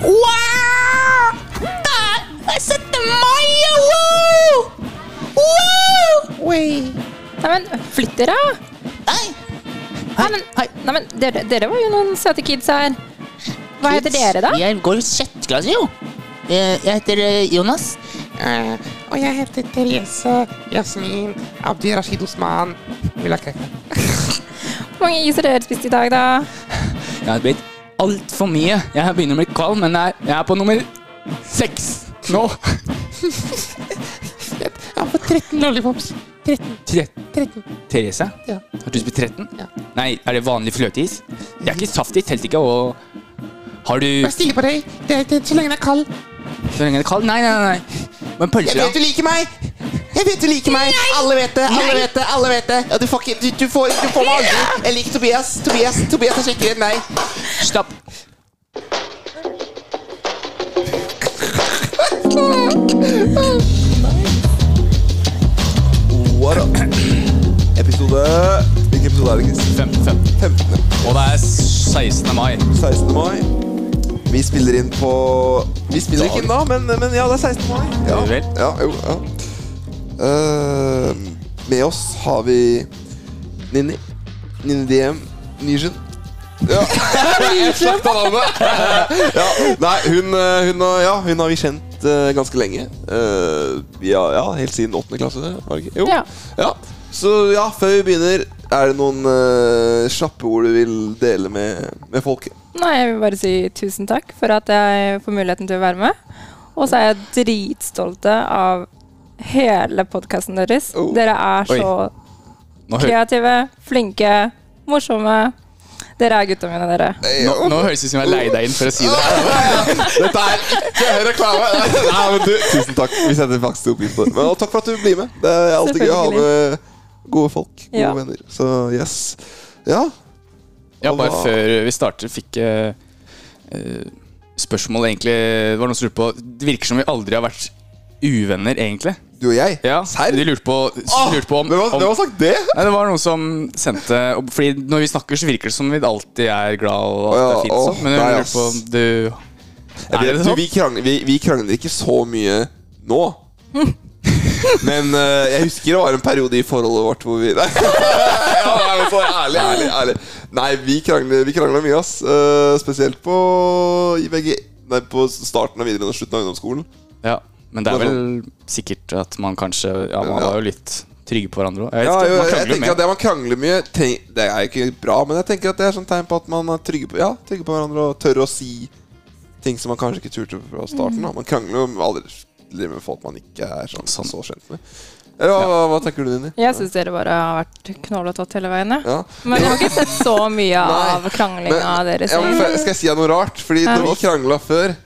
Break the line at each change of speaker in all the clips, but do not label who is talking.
Wow! Dad, listen to Maja! Wow! Wow!
Oi.
Nei, men flytt dere, da!
Nei,
Nei, men,
Hei.
nei, men dere, dere var jo noen søte kids her. Hva heter
kids,
dere, da?
Jeg går i sjette klasse, jo. Eh, Jeg heter eh, Jonas.
Eh, og jeg heter Therese Jasmin Abdi Rashid Osman. Vil ha kake?
Hvor mange is har dere spist i dag, da?
Jeg har blitt altfor mye. Jeg begynner å bli kvalm, men jeg er- jeg er på nummer seks nå.
Jeg har fått 13 lollipops. 13.
Tre-
13.
Therese,
Ja.
har du spist 13?
Ja.
Nei, er det vanlig fløteis? Det er ikke saftis, helt ikke. Og har du
Vær stille på deg. Det er, det, er- så lenge den er kald.
Så lenge det er kaldt? Nei, nei, nei. Men pølse,
Jeg vet du
da?
liker meg! Jeg vet du liker meg! Alle vet det! Alle vet det! alle vet det Ja, Du får ikke Du, du, får, du får meg aldri! Jeg liker Tobias. Tobias Tobias er kjekkere enn meg.
Stopp.
What up? Episode Hvilken episode er det, Chris?
Fem, fem.
15.
Og det er 16. mai.
16. mai. Vi spiller inn på Vi spiller ikke inn da, men, men ja, det er 16. mai. Ja,
Vel.
ja jo, ja. Eh, med oss har vi Ninni. Ninni DM. Nygin. Ja. Jeg slakta navnet. ja. Nei, hun, eh, hun, har- ja, hun har vi kjent eh, ganske lenge. Eh, vi har- ja, helt siden 8. klasse. Var det ikke? Jo.
Ja.
Ja. Så ja, før vi begynner, er det noen eh, kjappe ord du vil dele med, med folket?
Nei, jeg vil bare si tusen takk for at jeg får muligheten til å være med. Og så er jeg dritstolte av hele podkasten deres.
Oh.
Dere er
Oi.
så
Nå, hø
kreative, flinke, morsomme. Dere er gutta mine, dere.
nå, nå høres det ut som jeg leide deg inn for å si det.
Dette er ikke reklame! Nei, men du, tusen takk. Vi setter faktisk stor pris på det. Men og takk for at du blir med. Det er alltid gøy å ha med gode folk. Gode
Ja.
venner. Så yes. Ja.
Ja, bare før vi starter, fikk jeg eh, spørsmål egentlig Det var noen som lurte på Det virker som vi aldri har vært uvenner, egentlig.
Du og jeg.
Ja,
Serr?
De lurte på,
Åh,
lurte på om,
hvem, har,
om
hvem har sagt det?
Nei, det var noen som sendte og Fordi når vi snakker, så virker det som vi alltid er glad og alt
Ja,
er fint. og sånn, Men
åh,
jeg
nei,
lurer på om du Er det
Du,
sånn?
vi, krangler, vi, vi krangler ikke så mye nå. Men eh, jeg husker det var en periode i forholdet vårt hvor vi Nei, ja, nei men så ærlig, ærlig, ærlig. Nei, vi krangler, vi krangler mye, ass. Eh, spesielt på i VG, nei, på starten av videregående og slutten av ungdomsskolen.
Ja, Men det er vel sikkert at man kanskje Ja, man var jo litt trygge på hverandre òg. Jeg vet
Ja,
ikke,
jo,
man krangler
jeg
jo
tenker at
mer.
det man krangler mye tenk, Det er jo ikke bra, men jeg tenker at det er sånn tegn på at man er trygge på, ja, trygge på hverandre og tør å si ting som man kanskje ikke turte fra starten.
Mm.
Da. Man krangler jo aldri med folk man ikke er sånn,
Sånn.
så kjent med. Ja, hva, hva tenker du, Nini?
Jeg syns dere bare har vært knollete hele veien. jeg.
Ja.
Men jeg har ikke sett så mye
Nei,
av kranglinga deres.
ja, men for- Skal jeg si deg noe rart? Fordi
Ja.
når vi krangla før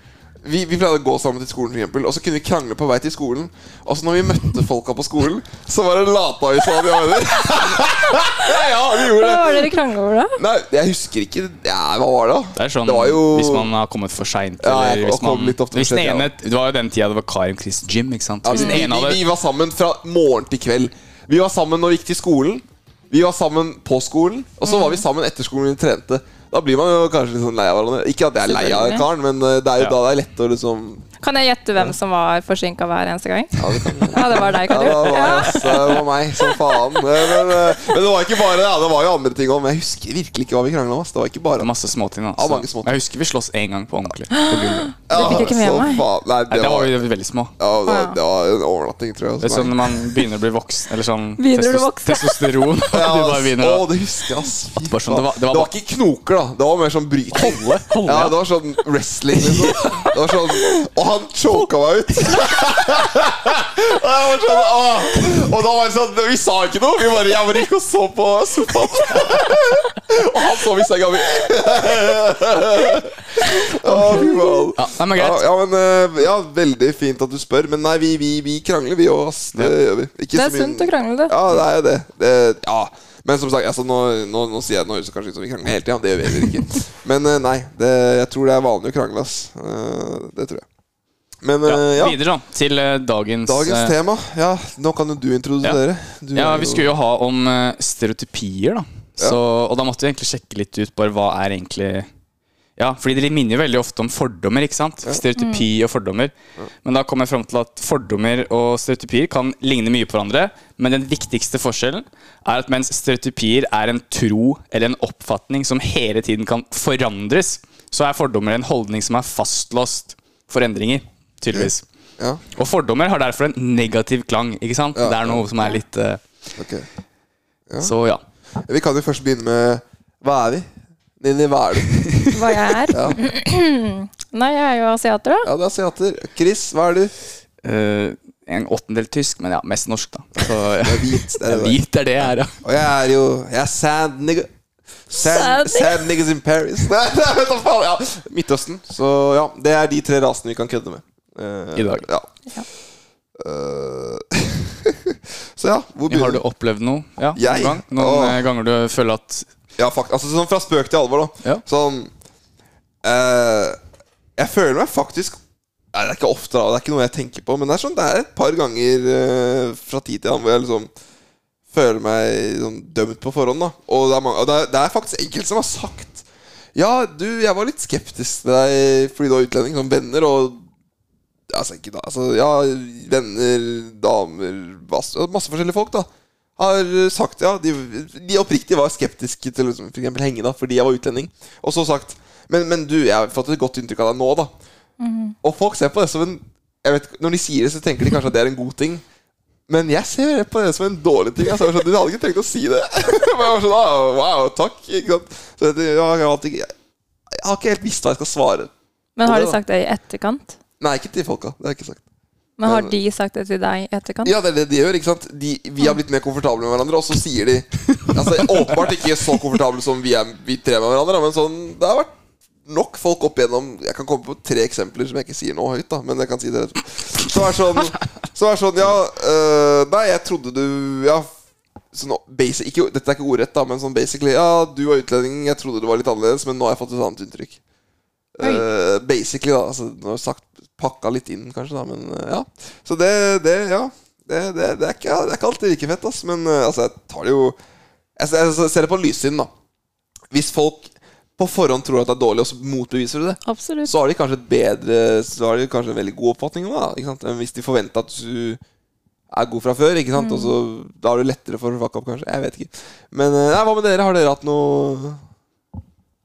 vi, vi pleide å gå sammen til skolen, for eksempel, og så kunne vi krangle på vei til skolen. Og så når vi møtte folka på skolen, så var det lata vi sa de var venner. ja, ja, vi
Hva
gjorde det.
var det dere krangla over, da?
Nei, jeg husker ikke ja, Hva var det, da?
Det er sånn
var jo
hvis man har kommet for seint.
Ja, jeg
eller hvis
kom
man-
litt ofte for
hvis den
sent, ja.
ene Det var jo den tida det var Karim Chris Jim, ikke sant.
ja,
Hvis
vi,
den ene
vi,
hadde
vi var sammen fra morgen til kveld. Vi var sammen når vi gikk til skolen. Vi var sammen på skolen, og så
Mhm.
var vi sammen etter skolen vi trente. Da blir man jo kanskje litt sånn lei av hverandre. Ikke at jeg er lei av
Selvfølgelig.
karen, men eh, det er jo
Ja.
da det er lett å liksom
Kan jeg gjette hvem som var forsinka hver eneste gang?
Ja, det kan
Ja, det var deg,
ja,
Karim.
det, var,
Ja.
ass, det var meg, som faen. Men, men, eh, men det var ikke bare det. ja, Det var jo andre ting òg. Men jeg husker virkelig ikke hva vi krangla om. ass. Det var ikke bare
masse småting. da
Ja,
så-
mange småting.
Jeg husker vi sloss én gang på ordentlig. På gulvet.
Ja,
fikk jeg ikke med
så
meg.
faen. Nei,
Nei,
det
da var
var, ja,
vi veldig små.
det, var, det var en overnatting, tror jeg.
Det er
hos meg.
sånn når man begynner å bli voksen. Eller sånn
Begynner du å
testos-
vokse?
testosteron. og
Ja,
du bare
ass.
begynner
Å,
å
det husker jeg, ass. Fy
bare sånn,
faen.
det var- det var bare-
ikke knoker, da. Det var mer sånn bryting.
holde. holde.
Ja, det var sånn wrestling, liksom. Det var sånn, og han choka meg ut. og jeg var sånn, åh. Og da var det sånn Vi sa ikke noe. Vi bare, jeg bare gikk og så på sofaen. og han sov i senga mi. Å, fy faen.
Ja, nei, men
Ja,
greit.
ja, men eh, ja, veldig fint at du spør. Men nei, vi, vi, vi krangler, vi òg, ass. Det gjør vi. Ikke
Det
så
er
mye-
sunt å krangle, det.
ja, det er jo det. det ja. Men som sagt, altså, nå, nå, nå sier jeg nå høres det kanskje ut som vi krangler hele tida. Det gjør vi heller ikke. Men eh, nei, det, jeg tror det er vanlig å krangle, ass. Eh, det tror jeg. Men
Ja,
eh, ja,
Videre da, til eh, dagens,
dagens
eh,
tema. Ja, nå kan jo du introdusere. Du
Ja,
er
Vi
jo-
skulle jo ha om eh, stereotypier, da. Så, Og da måtte vi egentlig sjekke litt ut bare hva er egentlig Ja, fordi de minner veldig ofte om fordommer. ikke sant? Stereotypi og fordommer. Men da kommer jeg fram til at fordommer og stereotypier kan ligne mye på hverandre. Men den viktigste forskjellen er at mens stereotypier er en tro eller en oppfatning som hele tiden kan forandres, så er fordommer en holdning som er fastlåst for endringer. Tydeligvis.
Ja,
Og fordommer har derfor en negativ klang. ikke sant?
Ja.
Det er noe som er litt eh,
ok.
Så ja.
Vi kan jo først begynne med Hva er vi? Nini, hva er du?
Hva jeg er?
Ja.
Nei, jeg er jo asiater, da.
Ja, det er asiater. Chris, hva er du?
Eh, en åttendel tysk, men ja, mest norsk, da. Så, ja.
Jeg er hvit. Det
Jeg
er det.
vet det er det jeg er, ja.
Og jeg er jo Jeg er sad nigga. Sad,
Sad
sad niggas in Paris. Nei, nei, vet du faen. Ja. Midtøsten. Så ja, det er de tre rasene vi kan kødde med. Eh,
I dag.
Ja.
Ja.
Eh, så ja,
Har
hvor begynner
du opplevd noe? Ja,
Jeg?
noen gang? Noen
Åh.
eh, ganger du føler at
Ja, fakt, altså sånn fra spøk til alvor, da.
Ja.
Sånn eh, Jeg føler meg faktisk Nei, det er ikke ofte, da. Det er ikke noe jeg tenker på. Men det er sånn, det er et par ganger eh, fra tid til annen hvor jeg liksom føler meg sånn, dømt på forhånd. da Og det er, mange, og det er, det er faktisk enkelte som har sagt Ja, du, jeg var litt skeptisk til deg fordi du var utlending, som venner, og Altså, ikke da, altså, ja, venner, damer, masse, masse forskjellige folk, da. Har sagt Ja, de, de oppriktig var skeptiske til liksom, for eksempel henge, da, fordi jeg var utlending. Og så sagt Men, men du, jeg har fått et godt inntrykk av deg nå, da. Og folk ser på det som en jeg vet, ikke, Når de sier det, så tenker de kanskje at det er en god ting. Men jeg ser på det som en dårlig ting. Altså, jeg var sånn, du hadde ikke trengt å si det. Men jeg var sånn, ah, wow, takk. Ikke sant? Så jeg, jeg, har alltid- jeg, jeg har ikke helt visst hva jeg skal svare.
Men har
det
de
da.
sagt det i etterkant?
Nei, ikke til folka. Det har jeg ikke sagt.
Men har de sagt det til deg i etterkant?
Ja, det er det de gjør. ikke sant? De, vi har blitt mer komfortable med hverandre, og så sier de Altså, Åpenbart ikke så komfortable som vi, er, vi tre med hverandre, da, men sånn, det har vært nok folk opp igjennom Jeg kan komme på tre eksempler som jeg ikke sier nå høyt, da, men jeg kan si det. Så er sånn, så er sånn Ja, øh, nei, jeg trodde du Ja, sånn basic, ikke, Dette er ikke ordrett, da, men sånn basically Ja, du var utlending, jeg trodde du var litt annerledes, men nå har jeg fått et annet inntrykk.
Oi.
Eh, basically, da. Altså, nå har jeg sagt pakka litt inn, kanskje, da, men eh, ja. Så det, det ja. Det, det, det, er ikke, det er ikke alltid like fett, ass. Men eh, altså, jeg tar det jo Jeg, ser- jeg ser det på lyssiden, da. Hvis folk på forhånd tror at det er dårlig, og så motbeviser du det,
Absolutt.
så har de kanskje et bedre Så har de kanskje en veldig god oppfatning om det. da, Ikke sant? Men Hvis de forventer at du er god fra før, ikke sant? Og så, da har du lettere for å fucke opp, kanskje. Jeg vet ikke. Men eh, nei, hva med dere? Har dere hatt noe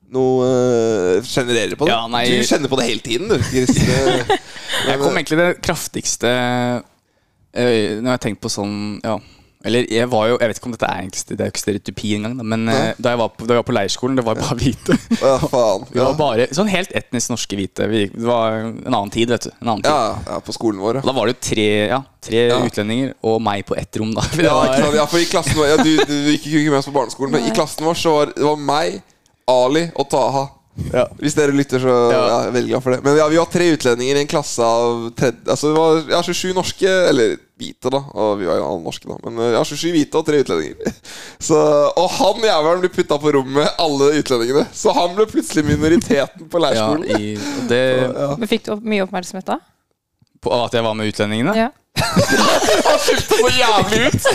noe eh, Kjenner dere på det?
Ja, nei-
Du kjenner på det hele tiden, du. Chris. Eh,
Jeg kom egentlig det kraftigste eh, Når jeg tenker på sånn Ja. Eller jeg var jo Jeg vet ikke om dette er egentlig Det er jo ikke stereotypi engang, da, men eh, da, jeg var på, da jeg var på leirskolen, det var bare hvite.
Å, ja, faen.
Vi
Ja.
var bare sånn helt etnisk norske hvite. Vi, det var en annen tid, vet du. En annen tid.
Ja, ja, på skolen vår, ja.
Da var det jo tre, ja, tre utlendinger og meg på ett rom, da. Det
Ja,
var-
ikke sant? ja, for i klassen vår ja, du, du, du gikk jo ikke med oss på barneskolen, men i klassen vår så var det var meg, Ali og Taha.
Ja.
Hvis dere lytter, så ja.
Ja.
jeg er veldig glad for det. Men ja, vi var tre utlendinger i en klasse av tredje, altså det var ja, 27 norske, eller hvite, da. Og vi var jo alle norske, da. Men eh, ja, 27 hvite og tre utlendinger. Så, og han jævelen ble putta på rommet med alle utlendingene. Så han ble plutselig minoriteten på
Ja,
leirskolen.
i, og det,
Men fikk du opp mye oppmerksomhet da?
på at jeg var med utlendingene?
Ja.
Så jævlig ut!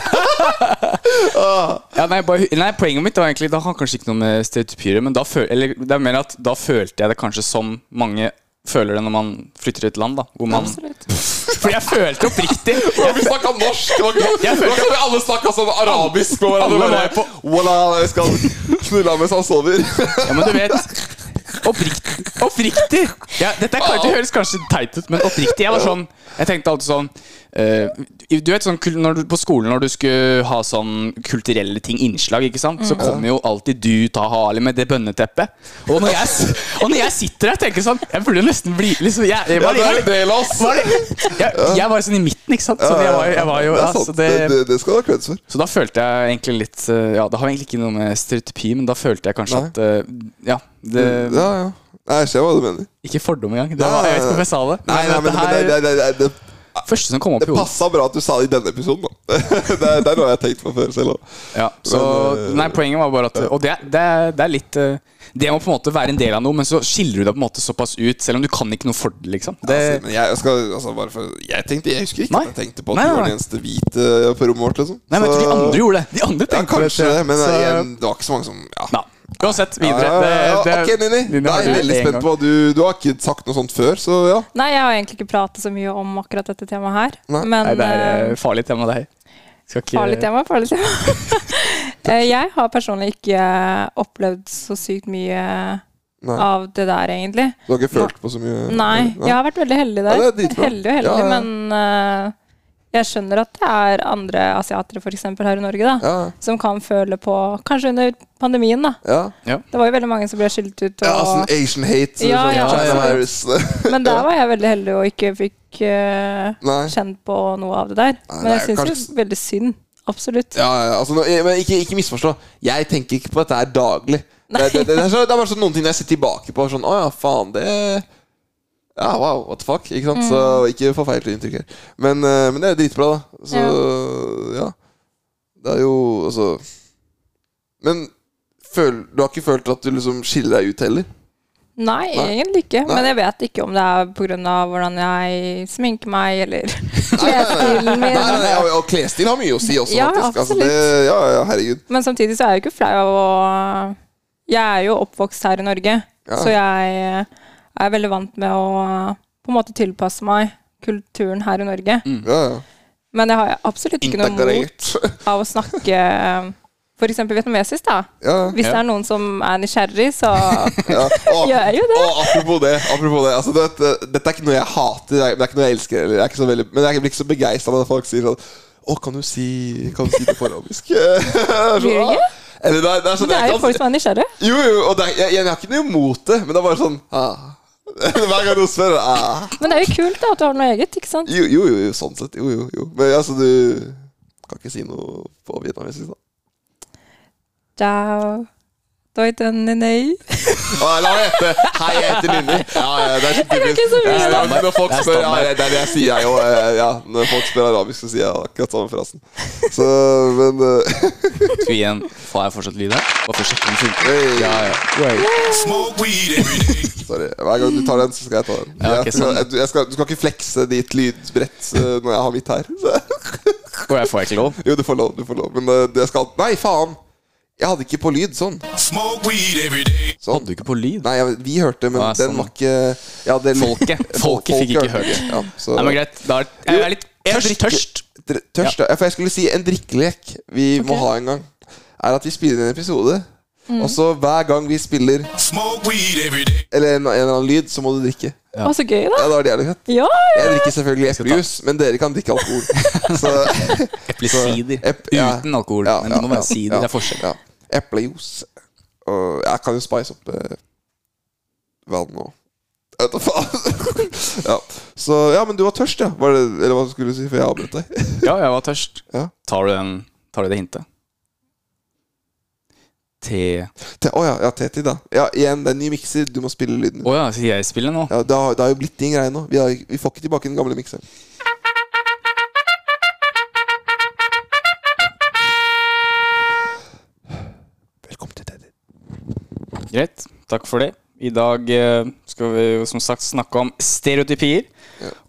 Ja, nei, bare, nei, poenget mitt var egentlig Det har kanskje ikke noe med stereotypier Men da, føl, eller, det er mer at da følte jeg det kanskje som mange føler det når man flytter til et land. da hvor man,
Absolutt.
For jeg følte oppriktig
Og vi snakka norsk! Det var ikke, det var ikke at vi alle snakka sånn arabisk med hverandre.
Alle var
Bare, Walla, jeg skal knulle ham mens han sover.
Ja, men du vet Oppriktig, oppriktig. Ja, Dette er kanskje, høres kanskje teit ut, men oppriktig. Jeg var sånn Jeg tenkte alltid sånn eh, Du vet sånn kul- når du, På skolen når du skulle ha sånn kulturelle ting innslag, ikke sant,
Mm.
så kommer jo alltid du, Taha Ali, med det bønneteppet. Og når jeg, s- og når jeg sitter der og tenker sånn Jeg burde nesten bli liksom, jeg, jeg,
Ja,
var,
det er
jeg,
en del av oss.
var, jeg, jeg var sånn i midten, ikke sant. Så jeg var, jeg var jo
Det
ja,
er sant.
så det,
det, det, det skal du ha creds for.
så da følte jeg egentlig litt eh, Ja, det har egentlig ikke noe med stereotypi, men da følte jeg kanskje
Nei.
at eh, Ja, det
Ja, ja. Nei, Jeg ser hva du mener.
Ikke fordom engang. Det
Nei,
var,
nei,
jeg vet ikke
nei.
om jeg sa det.
Nei, nei, men,
dette
men det,
her-
det, det, det, det,
første som kom opp
det
i hodet.
passa bra at du sa det i denne episoden, da. det, er- det er noe jeg har tenkt på før selv òg.
Ja, så,
Men, eh,
nei, poenget var bare at Og det, er- det, er- det er litt eh, Det må på en måte være en del av noe, men så skiller du deg på en måte såpass ut, selv om du kan ikke noe for det, liksom.
Altså,
Det,
men jeg, jeg skal, altså, bare for, jeg tenkte, jeg husker ikke
Nei.
at jeg tenkte på at
Nei,
du
nei,
var den
nei.
eneste hvite på rommet vårt. liksom
nei, men jeg tror de
Så-
andre gjorde det. De andre
Ja,
tenkte på
kanskje det, men
så-
igjen, det var ikke så mange som ja.
Nei. Uansett,
Ja,
videre.
ja, ja,
Det- det-
ok, Nini.
Nini
Da
har
er jeg
du
veldig
en
spent
gang.
på hva du Du har ikke sagt noe sånt før, så ja.
Nei, jeg har egentlig ikke pratet så mye om akkurat dette temaet her.
Nei.
men
Nei, det er
eh,
eh, farlig tema, det her. Skal ikke
farlig tema, farlig tema. Eh, jeg har personlig ikke eh, opplevd så sykt mye
Nei.
av det der, egentlig.
Du har ikke følt på så mye
Nei, jeg har vært veldig heldig der.
Ja, det er dritbra.
heldig og heldig,
Ja, ja.
men eh, jeg skjønner at det er andre asiatere for eksempel, her i Norge da,
Ja,
som kan føle på Kanskje under pandemien, da.
ja.
Det var jo veldig mange som ble skilt ut. Og,
ja sånn Asian hate.
Ja,
sånn
ja,
China
absolutt.
virus.
men der var jeg veldig heldig og ikke fikk eh,
Nei.
kjent på noe av det der.
Nei,
Men jeg
det er jo
syns jo veldig synd. Absolutt.
Ja, ja, altså, nå- men ikke, ikke misforstå. Jeg tenker ikke på dette her daglig. Det, det, det, det, er så, det er bare sånn noen ting jeg ser tilbake på. Sånn, Å ja, faen, det Ja, wow, what the fuck? Ikke sant? Så
Mm.
ikke få feil inntrykk her. Men, eh, men det er jo dritbra, da. Så ja. Det er jo altså Men føl, du har ikke følt at du liksom skiller deg ut heller?
Nei,
Nei.
egentlig ikke.
Nei.
Men jeg vet ikke om det er pga. hvordan jeg sminker meg, eller klesstilen
Nei, nei,
min.
nei, og, og klesstil har mye å si også,
Ja,
faktisk. Altså, det,
absolutt.
ja, ja, herregud.
Men samtidig så er jeg jo ikke flau. Og jeg er jo oppvokst her i Norge,
Ja.
så jeg eh, er veldig vant med å eh, på en måte tilpasse meg kulturen her i Norge.
Ja, ja.
Men jeg har absolutt Mm. ikke noe mot
Intaktarert.
av å snakke f.eks. vietnamesisk. da.
Ja, ja.
Hvis det er noen som er nysgjerrig, så
Ja. Og,
Gjør jo det.
og apropos det, apropos det altså, du vet, eh, Dette er ikke noe jeg hater, det er, det er ikke noe jeg elsker. Eller, jeg er ikke så veldig, men jeg blir ikke så begeistra når folk sier sånn Å, kan du si, kan du si det på arabisk? Sånn,
Blir du
«Ah».
ikke?
Eller, det, er- det er sånn
Det er
jeg
jo
kan
folk
si-
som er nysgjerrige.
Jo, jo, og det er, jeg, jeg har ikke noe imot det, men det er bare sånn ah. Hver gang noen spør ah.
Men det er jo kult da, at du har noe eget. ikke sant?
jo, jo, jo, jo, sånn sett. Jo, jo, jo. Men altså, du kan ikke si noe på vietnamesisk, da.
Ciao. Doi den nei, nei.
Ah, la meg gjette. Hei, jeg heter Linni. Ja, ja, det er så
kan ikke så mye
Ja, ja,
standard.
når folk
Det er
spør, ja,
standard.
det er det jeg sier, jeg òg. Ja, når folk spør arabisk, så sier jeg akkurat samme frasen. Så, men eh,
Skal vi igjen Får jeg fortsatt lyd her? Bare for å sjekke om det funker.
hey,
Ja, ja.
Smoke weed every day.
Sorry. Hver gang du tar den, så skal jeg ta den.
Ja, ok,
jeg skal,
sånn.
jeg, skal, du skal ikke flekse ditt lydbrett eh, når jeg har mitt her. Så.
Og jeg får ikke lov.
Jo, du får lov, du får lov. Men eh, det skal Nei, faen! Jeg hadde ikke på lyd sånn.
Smoke weed every day.
sånn.
ikke på lyd?
Nei, jeg, vi hørte, men
Ah,
den
sånn.
var ikke ja, det,
Folket. Folket fikk ikke hørt.
Ja, så,
Nei, men greit. Da er jeg er litt
En
tørst.
drikke-
tørst.
Dr- Tørst, ja. For jeg skulle si en drikkelek vi må ha en gang, er at vi spiller inn en episode,
Mm.
og så hver gang vi spiller
Smoke weed every day.
eller en, en eller annen lyd, så må du drikke.
Å, så gøy, da.
Ja, det var det jævlig fett.
Ja, ja.
Jeg drikker selvfølgelig eplejus, men dere kan drikke alkohol. Så
Eplesider.
Ep- ja.
Uten alkohol.
Ja,
Men
ja,
det må være
ja,
sider.
ja,
Det er forskjell.
ja. Eplejus. Og jeg kan jo spice opp eh, vann og Jeg vet da faen. ja. Så ja, men du var tørst, ja. Var det, eller hva skulle du si? For jeg avbrøt deg.
Ja, jeg var tørst.
Ja.
Tar du den Tar du det hintet? Te Å
Te- Å ja, ja, Teti, da. Ja, igjen, det er en ny mikser. Du må spille lyden.
ja, så jeg spiller nå?
Ja, det, har, det har jo blitt din greie nå. Vi, har, vi får ikke tilbake den gamle mikseren. Velkommen til Teddy.
Greit. Takk for det. I dag eh, skal vi jo som sagt snakke om stereotypier.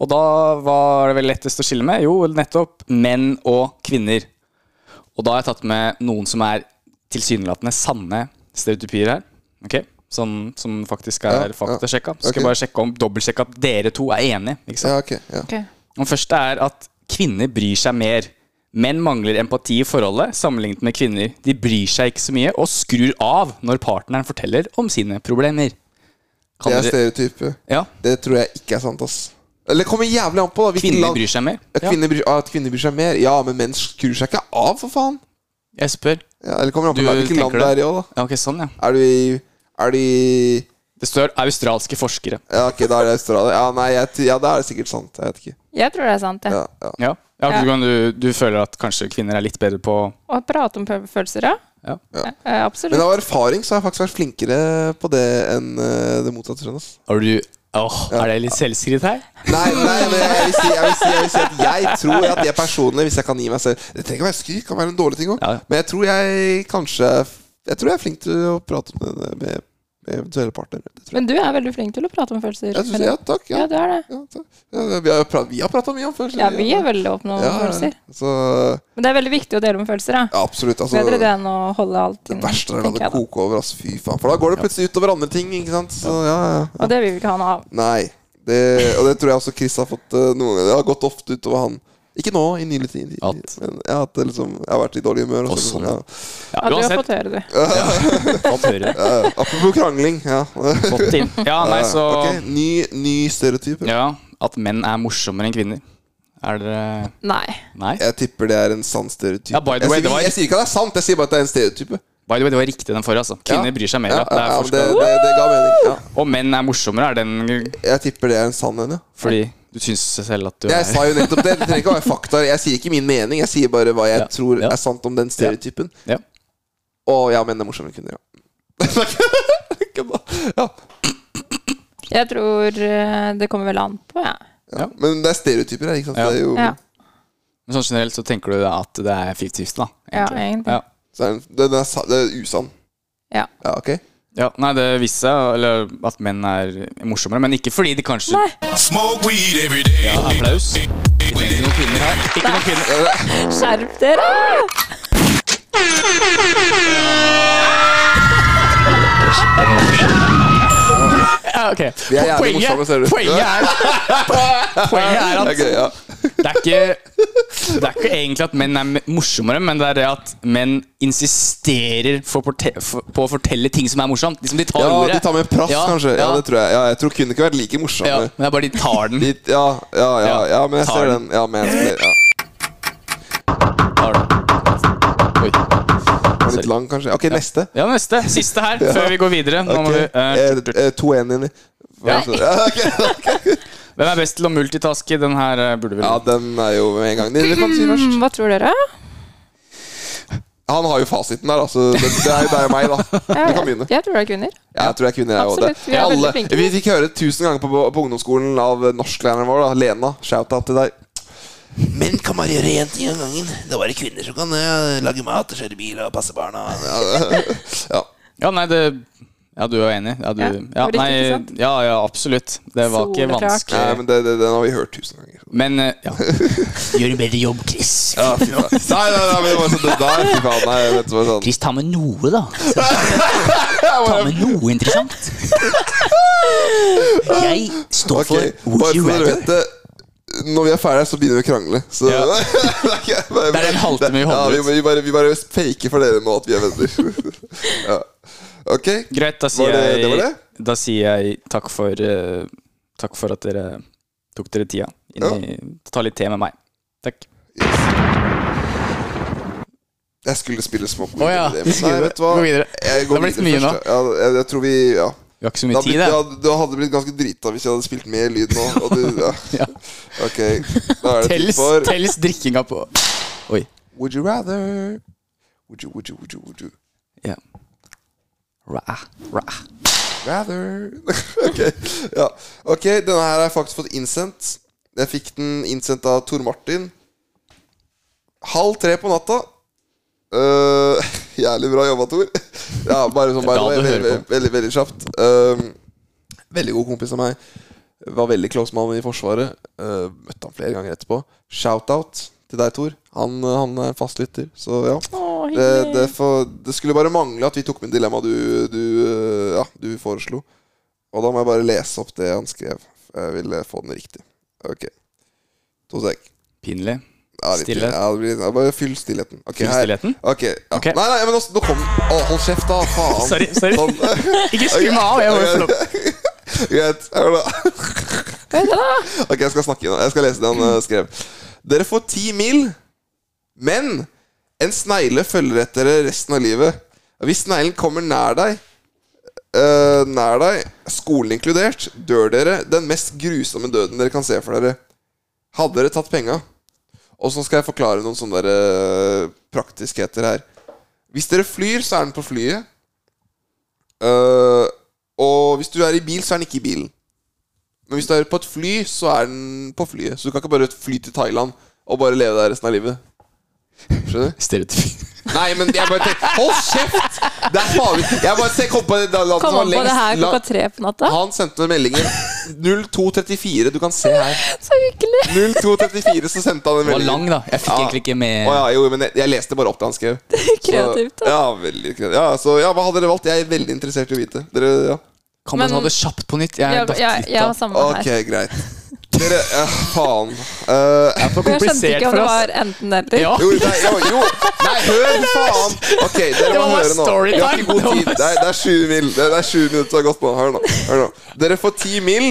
Og da var det vel lettest å skille med? Jo, nettopp menn og kvinner. Og da har jeg tatt med noen som er tilsynelatende sanne stereotypier her. Ok? Sånn som faktisk
Ja,
er
ja.
faktasjekka. Så skal
Ok.
jeg bare sjekke om, dobbeltsjekke at dere to er enige. Ikke sant?
Ja, ok. Ja.
Den første er at kvinner bryr seg mer. Menn mangler empati i forholdet sammenlignet med kvinner. De bryr seg ikke så mye og skrur av når partneren forteller om sine problemer.
Det
Kan
er
dere,
stereotype.
ja,
Det tror jeg ikke er sant, ass. Eller det kommer jævlig an på, da. hvilken
kvinner
land-
bryr seg mer.
Ja,
Ja,
kvinner bryr, ah, at kvinner bryr seg mer? Ja, men menn skrur seg ikke av, for faen.
jeg spør.
Ja, eller kommer an på
Du
land- hvilket land
tenker
det
det?
er i òg, da.
Ja, ok, sånn, ja.
Er du i Er du i
Det står australske forskere.
Ja, ok, da er det Australia. Ja, nei, jeg, t- ja, da er det sikkert sant. Jeg vet ikke.
Jeg tror det er sant, jeg.
Ja, ja.
Ja, ja,
Ja.
Du, kan, du, du føler at kanskje kvinner er litt bedre på
Å prate om føl- følelser, ja.
Ja.
Eh,
Men
Absolutt.
av erfaring så har jeg faktisk vært flinkere på det enn eh, det motsatte. skjønn, ass.
Har du Åh, er det litt selvskritt her?
Nei, nei, men jeg vil, si, jeg, vil si, jeg vil si at jeg tror at jeg personlig, hvis jeg kan gi meg selv Det trenger ikke å være skryt, det kan være en dårlig ting òg.
Ja, ja.
Men jeg tror jeg kanskje Jeg tror jeg er flink til å prate med, med, med eventuelle partnere. Det tror jeg.
Men du er veldig flink til å prate om følelser.
jeg synes, ja, takk.
Ja,
Ja,
du er det.
ja, takk. Ja, vi har pra- vi har prata mye om følelser.
Ja, vi er veldig åpne om
Ja,
følelser.
Så
Men det er veldig viktig å dele om følelser. da.
ja, absolutt. Altså,
Bedre det enn å holde alt
det
inne.
verste er å la
Mm, tenker
det
jeg da.
koke over. Ass. Fy faen. For da går det plutselig utover andre ting. Ikke sant? Så ja, ja.
Og det vil vi ikke ha noe av.
Nei. Det, og det tror jeg også Chris har fått eh, noen ganger. Det har gått ofte utover han. Ikke nå, i nylig tid. i-
At-
Men ja, at det liksom, jeg har vært i dårlig humør. Og
Og
så,
sånn.
ja.
Ja,
Ja, du har
uansett.
fått høre det.
Fått høre.
Ja, ja. apropos krangling. Ja.
Fått inn. Ja, nei, så
Ok, ny, ny stereotyp.
Ja, at menn er morsommere enn kvinner. Er dere
Nei.
Nei?
Jeg tipper det er en sann stereotype.
Ja, by the
jeg,
way,
sier,
det var-
jeg sier ikke at det er sant, jeg sier bare at det er en stereotype.
By the way, det var riktig den forrige. altså Kvinner
Ja.
bryr seg mer.
Ja,
Ja, det er
ja, men det,
forsket.
det, det ga mening. Ja.
Og menn er morsommere, er den
Jeg tipper det er en sann en, ja.
fordi du syns selv at du
Jeg sa
er
jo nettopp det. Det trenger ikke å være fakta. Jeg sier ikke min mening, jeg sier bare hva jeg
Ja,
tror
ja.
er sant om den stereotypen.
Ja.
Og ja, menn er morsommere enn kvinner, ja. ja.
Jeg tror eh, det kommer vel an på, jeg.
Ja. Men det er stereotyper her, ikke sant?
Ja.
Det er jo,
Ja.
Men sånn generelt så tenker du at det er 50-50, da.
Ja, egentlig.
Ja.
så er den, den er, sa- det er usann.
Ja.
Ja, ok.
Ja, Nei, det viste seg eller, at menn er morsommere, men ikke fordi de kanskje
Nei.
Smoke weed every day.
Ja, applaus. Vi trenger ikke noen kvinner her. Ikke noen kvinner.
Skjerp dere!
Ja, ok.
Vi er jævlig morsomme, ser du.
Poenget er, poenget er
Det
at
er gøy, ja.
det er, ikke, det er ikke egentlig at menn er me- morsommere, men det er det at menn insisterer for å forte- for, på å fortelle ting som er morsomt. Liksom de tar
ja,
ordet.
de tar med prass,
Ja,
kanskje. Ja,
ja.
det tror jeg. Ja, jeg tror kvinner kunne vært like
ja,
morsomme.
men det er bare de tar den.
De, ja, ja, ja,
Ja,
ja, men jeg
tar
ser
den.
den. Ja, men jeg ser, ja.
Tar den. Oi.
Den var Litt lang, kanskje. Ok, neste.
Ja, neste. Siste her, før vi går videre. Nå må
Ok.
vi, eh,
Eh, eh, to en inni. Ja. ok.
hvem er best til å multitaske? Den her eh, burde vi
ja, den er jo med en gang. Dere kan si
Mm,
først.
Hva tror dere?
Han har jo fasiten der, altså. Det, det er jo deg og meg, da.
Jeg,
Du kan begynne.
jeg tror det er kvinner.
Ja, jeg tror jeg kvinner er jo
Absolutt, vi er veldig flinke.
Vi fikk høre tusen ganger på, på ungdomsskolen av norsklæreren vår, da. Lena. Shout-out til deg.
Menn kan bare gjøre én ting av gangen. Det er bare kvinner som kan eh, lage mat, og kjøre bil og passe barna.
Ja.
Ja, nei, det Ja, du er enig? Ja, du,
Ja,
ja,
det var riktig,
nei,
ikke sant?
ja, ja absolutt. Det var ikke
Soleklart.
vanskelig.
Nei, Eh, men det, det, den har vi hørt tusen ganger.
Men eh, ja.
Gjør en bedre jobb, Chris.
Ja, fy faen. Nei, nei, nei, men det var sånn det der, fy faen. Nei, vet du hva sånn
Chris, ta med noe, da. Ta med noe interessant. Jeg står
Ok,
for
bare
Would
så
you
dere
rather.
vet det når vi er ferdige, her, så begynner vi å krangle. Så
Ja.
det er ikke- bare-
Det er en halvtime vi holder
ja, vi,
ut.
vi, bare, vi bare faker for dere nå at vi er venner. ja. Ok.
Greit, da
Var
sier,
det- det
jeg,
var det?
da sier jeg takk for eh, Takk for at dere tok dere tida inn i Ta litt te med meg. Takk.
Jeg skulle spille små på
Å ja.
det, men Nei, vet du hva?
Gå videre.
Jeg
Det har blitt mye nå.
først, ja. Ja, jeg, jeg tror vi Ja.
Vi har ikke så
Det
mye
hadde
tid,
blitt,
det.
ja, du hadde blitt ganske drita hvis jeg hadde spilt mer lyd nå. Og du, ja.
Ja.
Ok, da er det tid
Telles,
for
telles drikkinga på Oi.
Would you rather? Would you, would you, would you, would you
Ja. Ra, ra.
Rather Ok, ja. Ok, denne her har jeg faktisk fått innsendt. Jeg fikk den innsendt av Tor Martin. Halv tre på natta. Eh, jævlig bra jobba, Tor. Ja, bare sånn,
Det
by
er bra
the way.
du hører
Veldig, veldig, veldig, kjapt. Eh, veldig god kompis av meg. Var veldig close med han i Forsvaret. Eh, møtte han flere ganger etterpå. Shout-out til deg, Tor. Han, eh, han er en fast lytter, så ja.
Å,
Det,
hyggelig.
det, får- det skulle bare mangle at vi tok med dilemmaet du, du, øh, ja, du foreslo. Og da må jeg bare lese opp det han skrev. for Jeg vil eh, få den riktig. Ok. To sek.
Pinlig.
Ja, litt-
Stillhet.
Ja, det blir, ja, bare fyll stillheten. Ok,
Fyll
her.
stillheten?
Ok, ja.
Ok.
Nei, nei, men nå, nå kom Å, hold kjeft, da! Faen.
Sorry, sorry.
Sånn.
Ikke skru meg av! Jeg må jo få lov.
Greit. Hør da.
Vent da!
Ok, jeg skal snakke nå. Jeg skal lese det han eh, skrev. Dere får ti mil, men en snegle følger etter dere resten av livet. Hvis sneglen kommer nær deg, eh, nær deg, skolen inkludert, dør dere den mest grusomme døden dere kan se for dere. Hadde dere tatt penga? Og så skal jeg forklare noen sånne der, eh, praktiskheter her. Hvis dere flyr, så er den på flyet. Eh, og hvis du er i bil, så er den ikke i bilen. Men hvis du er på et fly, så er den på flyet. Så du kan ikke bare fly til Thailand og bare leve der resten av livet. Skjønner du?
Stereotyp.
Nei, men jeg bare tenker Hold kjeft! Det er farlig. Jeg bare se, kom på det landet
Kom
som var
opp på det her
lengst. La-
klokka tre på natta.
Han sendte meg meldingen 0234. Du kan se her.
Så hyggelig!
0234 så sendte han en
Den var
melding.
lang, da. Jeg fikk
Ja.
egentlig ikke med
Å ja, jo, men jeg, jeg leste bare opp det han skrev.
Kreativt.
Så,
Da.
ja, veldig kreativt. Ja, så ja, hva hadde dere valgt? Jeg er veldig interessert i å vite. Dere, ja.
Kan man
Men-
ta det kjapt på nytt? Jeg
Jeg,
er datt
jeg,
litt
jeg
av.
har samme
Ok,
her.
greit. Dere ja, Faen. Eh,
Det er for
Jeg skjønte
komplisert
ikke om
for
det
oss.
var enten eller.
Ja.
jo, nei, jo, jo, nei, hør, faen! Ok, dere
Det
må
var
høre nå.
storytime.
Vi har ikke god tid. Det er, det er sju mil. Det er, det er sju minutter som har gått på. Hør nå. Hør nå. Dere får ti mil,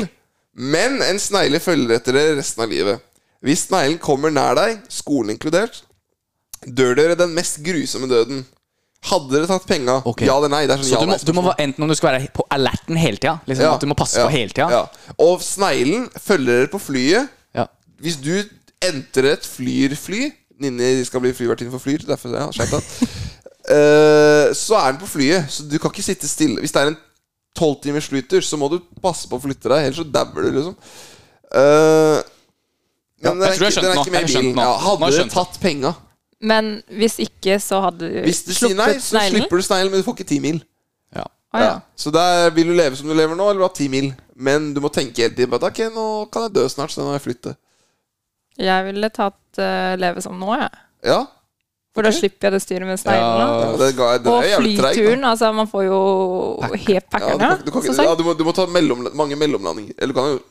men en snegle følger etter dere resten av livet. Hvis sneglen kommer nær deg, skolen inkludert, dør dere den mest grusomme døden. Hadde dere tatt penga?
Ok.
Ja eller nei? Det er sånn
Så
ja,
du må,
nei,
du må være- enten om du skal være på alerten hele tida, liksom,
Ja,
at du må passe
ja,
på hele tida,
Ja. Og sneglen følger dere på flyet.
Ja.
Hvis du entrer et flyrfly Ninni skal bli flyvertinne for Flyr. Derfor, ja, skjønt det. Eh, så er den på flyet, så du kan ikke sitte stille. Hvis det er en tolvtimers flytur, så må du passe på å flytte deg, ellers så dabber du, liksom. Eh, men
Ja,
den er
jeg tror jeg
ikke- den er
skjønte nå.
ikke med i
Jeg skjønte
bilen.
nå.
Ja,
Nå har
hadde
jeg
dere
skjønt
tatt penga?
Men hvis ikke, så hadde du
Hvis du sier nei,
sluppet
så
sneglen.
slipper du sneglen, men du får ikke ti mil.
Ja.
Å, ja.
Så der vil du leve som du lever nå, eller ha ti mil. Men du må tenke hele tiden på at ok, nå kan jeg dø snart, så da må jeg flytte.
Jeg ville tatt eh, leve som nå, jeg.
Ja,
For da slipper jeg det styret med
ja
sneglene.
det, ga, det
Og
er jævlig treigt. da.
flyturen, altså. Man får jo helt
Ja, du,
packeren,
kan, du, kan,
ja. Så
ikke- ja,
sant.
du, må, du må ta mellom, mange mellomlandinger. Eller du kan jo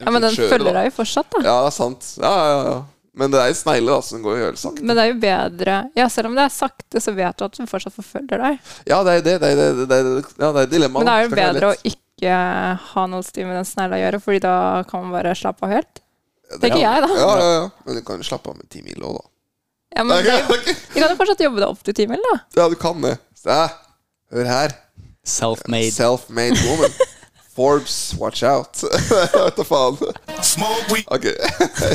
Ja, men den
kjøre,
følger
da.
deg jo fortsatt, da.
Ja, det er sant. Ja, ja, ja. Men det er en snegle da, som går i hølsak.
Men det er jo bedre Ja, selv om det er sakte, så vet du at den fortsatt forfølger deg.
Ja, det er det. Det er, det, det er, ja, det er
Men
dilemmaet.
det er jo
Skal ikke være
bedre å
lett.
ikke ha noe styr med den snegla å gjøre, Fordi da kan man bare slappe av helt. Tenker jeg, da.
Ja, ja, ja. Men du kan jo slappe av med ti mil òg, da.
Ja, men
Ja,
du kan jo fortsatt jobbe deg opp til timen, da.
Ja, du kan det. Se, hør her.
Self-made.
Self-made woman. Forbes, watch out. Vet da faen.
Smoke weed.
Ok.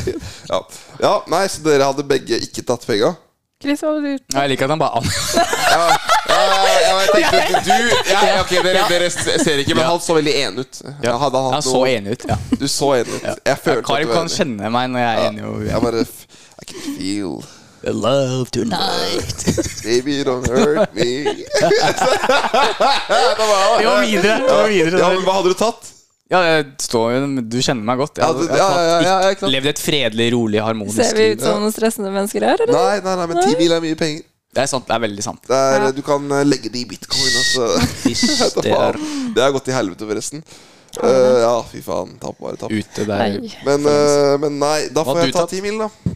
ja. ja, nei, så dere hadde begge ikke tatt penga?
Chris, hva hadde du gjort?
Ja, jeg liker at han bare an...
Ja, Ah, ja, jeg tenkte du ja, ja, Ok, dere, dere ser ikke, men han så veldig enig ut.
Ja.
Ja, hadde han
Han
hatt
så
noe-
enig ut. Ja.
Du så enig ut. Jeg
Ja,
følte
Karim kan
enig.
kjenne meg når jeg er enig og
Jeg
uenig.
bare f- I can feel
Love tonight.
Baby, don't hurt me.
Vi må videre. Vi må videre.
Ja, men Hva hadde du tatt?
Ja, jeg står jo men Du kjenner meg godt. Jeg,
Ja,
hadde-
du-
jeg,
ja, ja, ja, ja,
har
ikke sant.
levd et fredelig, rolig, harmonisk
Ser vi
liv.
ut som noen stressende mennesker her, eller?
Nei, nei, nei, men ti mil er mye penger.
Det er sant. Det er veldig sant.
Det er,
Ja.
Du kan eh, legge det i bitcoin. Altså.
Ish,
Det
Det er
har gått til helvete, forresten. Eh, ja, fy faen. Tapp bare tapp.
ute der.
Nei.
Men, eh, men nei, da
Hva
får
hadde
jeg
du
ta
tatt?
ti mil, da.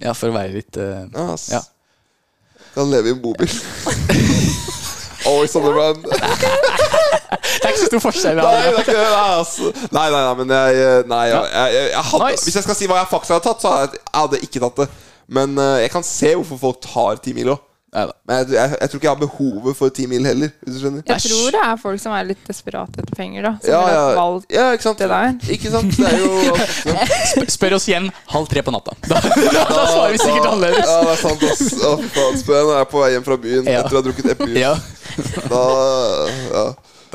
Ja, for å være litt eh,
Ja, ass.
Ja.
Kan leve i en bobil. Always on the run. Nei,
Det er ikke så stor forskjell.
det
Ja.
er ikke det, nei, ass. nei, nei, nei, men jeg, eh, nei, jeg, jeg, jeg, jeg hadde,
Nice.
Hvis jeg skal si hva jeg faktisk hadde tatt, så hadde jeg, jeg hadde ikke tatt det. Men eh, jeg kan se hvorfor folk tar ti mil òg.
Neida.
Men jeg, jeg, jeg tror ikke jeg har behovet for ti mil heller. Hvis du skjønner
Jeg tror det er folk som er litt desperate etter penger, da. Som
ja,
ville
ja,
valgt
ja, ikke sant?
det der.
Ikke sant? Det er jo ja,
Sp- Spør oss igjen halv tre på natta. Da, da, da svarer vi sikkert annerledes.
det er sant, ass. Å, fy faen, spør jeg når jeg er på vei hjem fra byen
Ja.
etter å ha drukket eplejus.
Ja,
Da ja.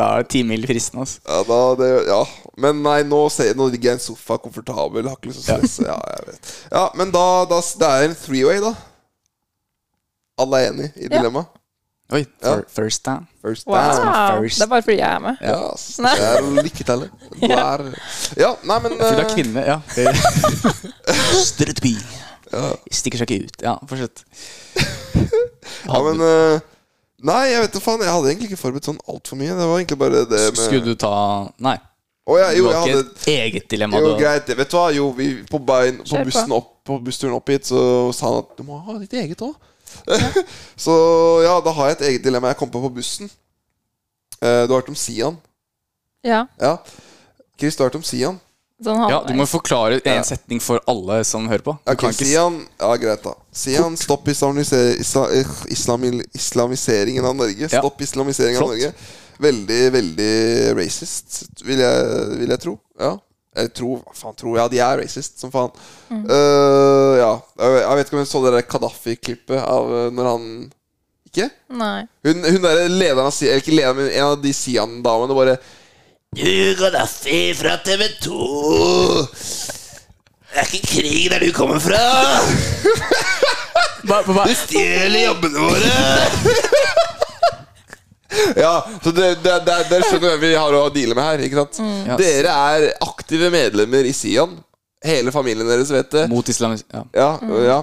da er ti mil fristen, altså.
Ja, da, det, ja. Men nei, nå, ser jeg, nå ligger jeg i en sofa komfortabel. Har ikke lyst til å stresse. Ja, jeg vet. Ja, men da, da Det er en three-way, da. Alle er enig i dilemmaet?
Oi,
Ja.
fir- first down.
First
Wow.
down.
first.
Det er bare fordi jeg er med.
Ja, ass.
Nei.
det Sånn er lykketallet. Du er Ja, nei, men
For du er
eh,
kvinne, ja. Strategi. Stikker seg ikke ut. Ja, fortsett.
ja, men eh, Nei, jeg vet da faen. Jeg hadde egentlig ikke forberedt sånn altfor mye. Det var egentlig bare det med
Skulle du ta Nei.
Å, eh, ja,
Du
jo,
har
jeg
ikke
hadde
et eget dilemma.
Jo,
du-
greit. Vet du hva? Jo, vi, på, bein, på,
Kjør på.
bussen opp, på bussturen opp hit så sa han at du må ha ditt eget òg. så ja, da har jeg et eget dilemma jeg kom på på bussen. Eh, du har hørt om Sian?
Ja,
Ja. Chris, du har hørt om Sian?
sånn
Ja, du må
halvveis.
forklare en setning for alle som hører på. Du
Ok,
kan ikke s-
Sian Ja, greit, da. Sian, stopp islamiser, isla, eh, islamil- islamiseringen av Norge.
Ja.
Stopp islamiseringen
Flott.
av Norge. Veldig, veldig racist, vil jeg, vil jeg tro. Ja. Jeg tror, hva faen, tror Ja, de er racist som faen. Eh, ja. Jeg jeg vet ikke om jeg så det der Kadafi-klippet av eh, når han Ikke?
Nei.
Hun, hun derre lederen av Si- Eller ikke lederen, men en av de Sian-damene bare
Du, Gaddafi fra TV 2. Det er ikke krig der du kommer fra.
Hva- hva- hva-
stjeler jobbene våre! ja, så det, det, det, dere skjønner hvem vi har å deale med her. ikke sant?
Ja.
Dere er aktive medlemmer i Sian. Hele familien deres vet det.
Mot islamist... Ja.
Ja, ja.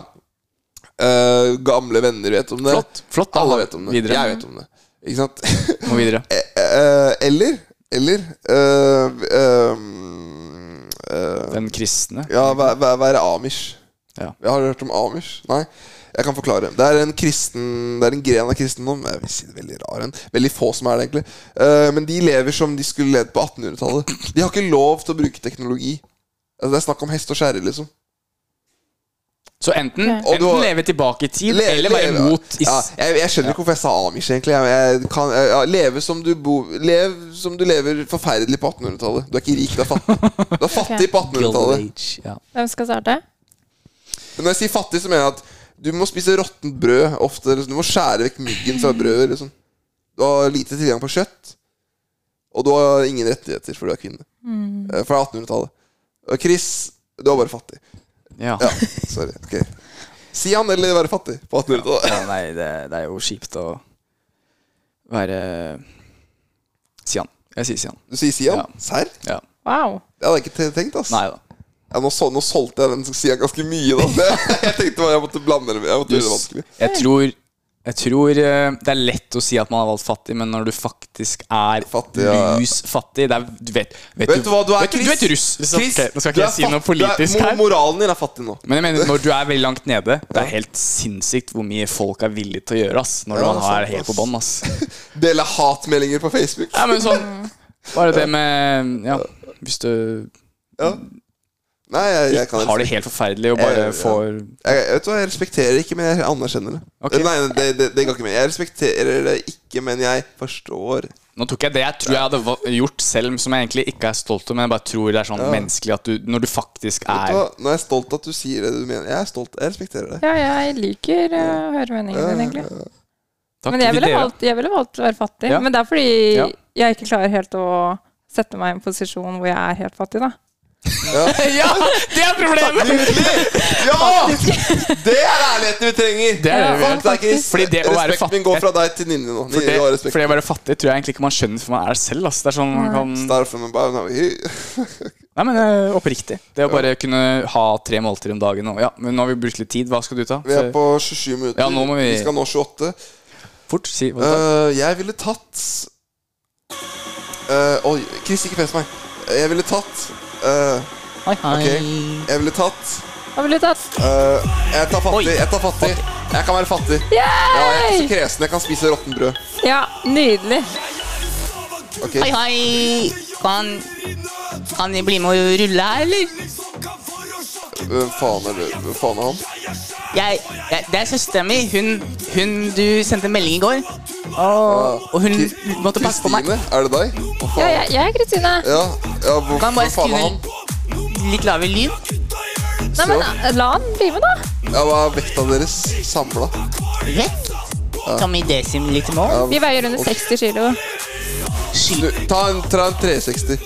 Eh, gamle venner vet om det.
Flott. Flott, da.
Alle vet om det.
Videre.
Jeg vet om det. Ikke sant?
Må videre.
Eh, eh, eller Eller eh, eh, eh,
Den kristne.
Ja, væ- væ- være amish.
Ja.
Jeg har hørt om amish. Nei, jeg kan forklare. Det er en kristen Det er en gren av kristendom. Jeg vil si det er veldig rar en. Veldig få som er det, egentlig. Eh, men de lever som de skulle levd på 1800-tallet. De har ikke lov til å bruke teknologi. Altså, det er snakk om hest og skjære, liksom.
Så enten,
Og
enten
du har-
leve tilbake i tid,
Le-
eller være
leve-
mot is...
ja, jeg, jeg skjønner ikke hvorfor jeg sa amish, egentlig. Jeg, jeg kan, jeg, ja, leve som du bo, lev som du lever forferdelig på 1800-tallet. Du er ikke rik, du er fattig. Du er fattig på
Golden
1800-tallet.
Age. Ja.
Hvem skal starte?
Men når jeg sier fattig, så mener jeg at du må spise råttent brød ofte. Liksom. Du må skjære vekk myggen fra brødet. Liksom. Du har lite tilgang på kjøtt. Og du har ingen rettigheter, for du er kvinne. Eh, Fra 1800-tallet. Og Chris, du er bare fattig.
Ja.
Ja, sorry. Ok. Si han eller være fattig på 1800-tallet.
ja, nei, det, det er jo kjipt å være Sian. Jeg sier Sian.
Du sier Sian?
Ja.
Serr?
Ja.
Wow.
Det hadde jeg ikke te- tenkt, ass.
Nei da.
Ja, nå, sol- nå solgte jeg den Sian ganske mye, da. Det, jeg tenkte bare jeg måtte blande det. Jeg måtte gjøre det vanskelig.
Jeg tror, jeg tror eh, det er lett å si at man har valgt fattig, men når du faktisk er
Fattig, ja.
lus fattig det er, du vet, vet,
Vet du hva, du er
vet, du,
Chris.
vet russ. Liksom.
Chris,
Ok, nå skal
du
ikke
er
jeg si noe
fattig. Du er-
politisk
mo-
her.
Moralen din er fattig nå.
Men jeg mener, når du er veldig langt nede Det er helt sinnssykt hvor mye folk er villige til å gjøre ass, når
Ja,
man
det er
er
sant,
helt på
ass.
bånn. ass.
Dele hatmeldinger på Facebook.
Ja, men sånn
Mm.
Bare det med Ja, hvis du
Nei, jeg, jeg kan
har det helt forferdelig og bare
Eh, ja.
får
jeg, vet du hva, jeg respekterer ikke, men jeg anerkjenner det.
Ok.
Nei, nei, det, det, det går ikke med. Jeg respekterer det ikke, men jeg forstår.
Nå tok jeg det jeg tror jeg hadde va- gjort selv, som jeg egentlig ikke er stolt av, men jeg bare tror det er sånn menneskelig at du Når du faktisk
Vet du
er
hva, Nå er jeg stolt at du sier det du mener. Jeg er stolt, jeg respekterer det.
Ja, jeg liker eh, å høre meningen din, egentlig.
Takk
Men jeg
til
ville
dere.
valgt, jeg ville valgt å være fattig.
Ja.
Men det er fordi
Ja.
jeg ikke klarer helt å sette meg i en posisjon hvor jeg er helt fattig, da.
Ja, det er problemet!
Ja! Det er ærligheten vi trenger!
Det er det vi
Fuck
gjør.
deg, Chris.
Fordi det å være
Respekten min
fattig-
går fra deg til Ninni nå.
For
Ninni,
det,
du har
for
respekt.
det å være fattig tror jeg egentlig ikke man skjønner for man er det selv. Ass. Det er sånn man kan
Start from above now.
Nei, men eh, oppriktig. Det å bare kunne ha tre måltider om dagen. Og, ja, men nå har vi brukt litt tid. Hva skal du ta?
Vi er på 27 minutter.
Ja, nå må vi-
vi skal nå 28.
Fort, si hva du tar.
Eh, jeg ville tatt Eh, Oi, Chris, ikke pes meg. Jeg ville tatt eh,
Hei, hei.
Ok. Jeg ville tatt
Hva ville du tatt?
eh, Jeg tar fattig. Jeg tar fattig Jeg kan være fattig. Ja, jeg er ikke så
Yay!
kresen. Jeg kan spise råttent brød.
Ja, nydelig.
Ok.
Hei, hei. Kan, kan jeg bli med å rulle her, eller?
Hvem faen er det? Hvem faen er han?
Jeg, jeg, det er søsteren min. Hun, hun du sendte en melding i går. Og, og hun måtte passe på meg.
Kristine? Er det deg? Hva
Ja,
faen?
jeg, jeg er Kristine.
Ja, ja hvor,
Kan
hvor
bare
faen er han?
skru litt lavere lyd.
Nei, men eh, la han bli med, da.
Ja, hva er vekta deres samla?
Vekk. Som i desim litt mål.
Ja,
Vi veier under 60 kilo.
du, ta, en, ta en 360.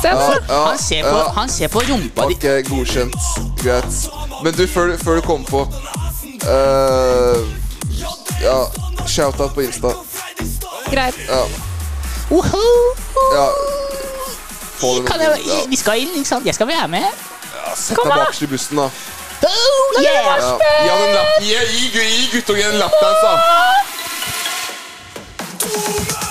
Se nå.
Ja,
Han ser på,
ja.
han ser på rumpa di.
Ok, godkjent. Greit. Men du, før, du- før du kommer på eh, Ja, shout-out på Insta.
Greit.
Woho!
Ja. Få det
Kan
med.
jeg,
Ja,
vi skal inn, ikke sant? Jeg skal være med.
sett deg bakerst i bussen, da.
Oh, yeah!
Ja. Gi han en lapp. Gi, gi, gu- gi guttungen en lappdans, da.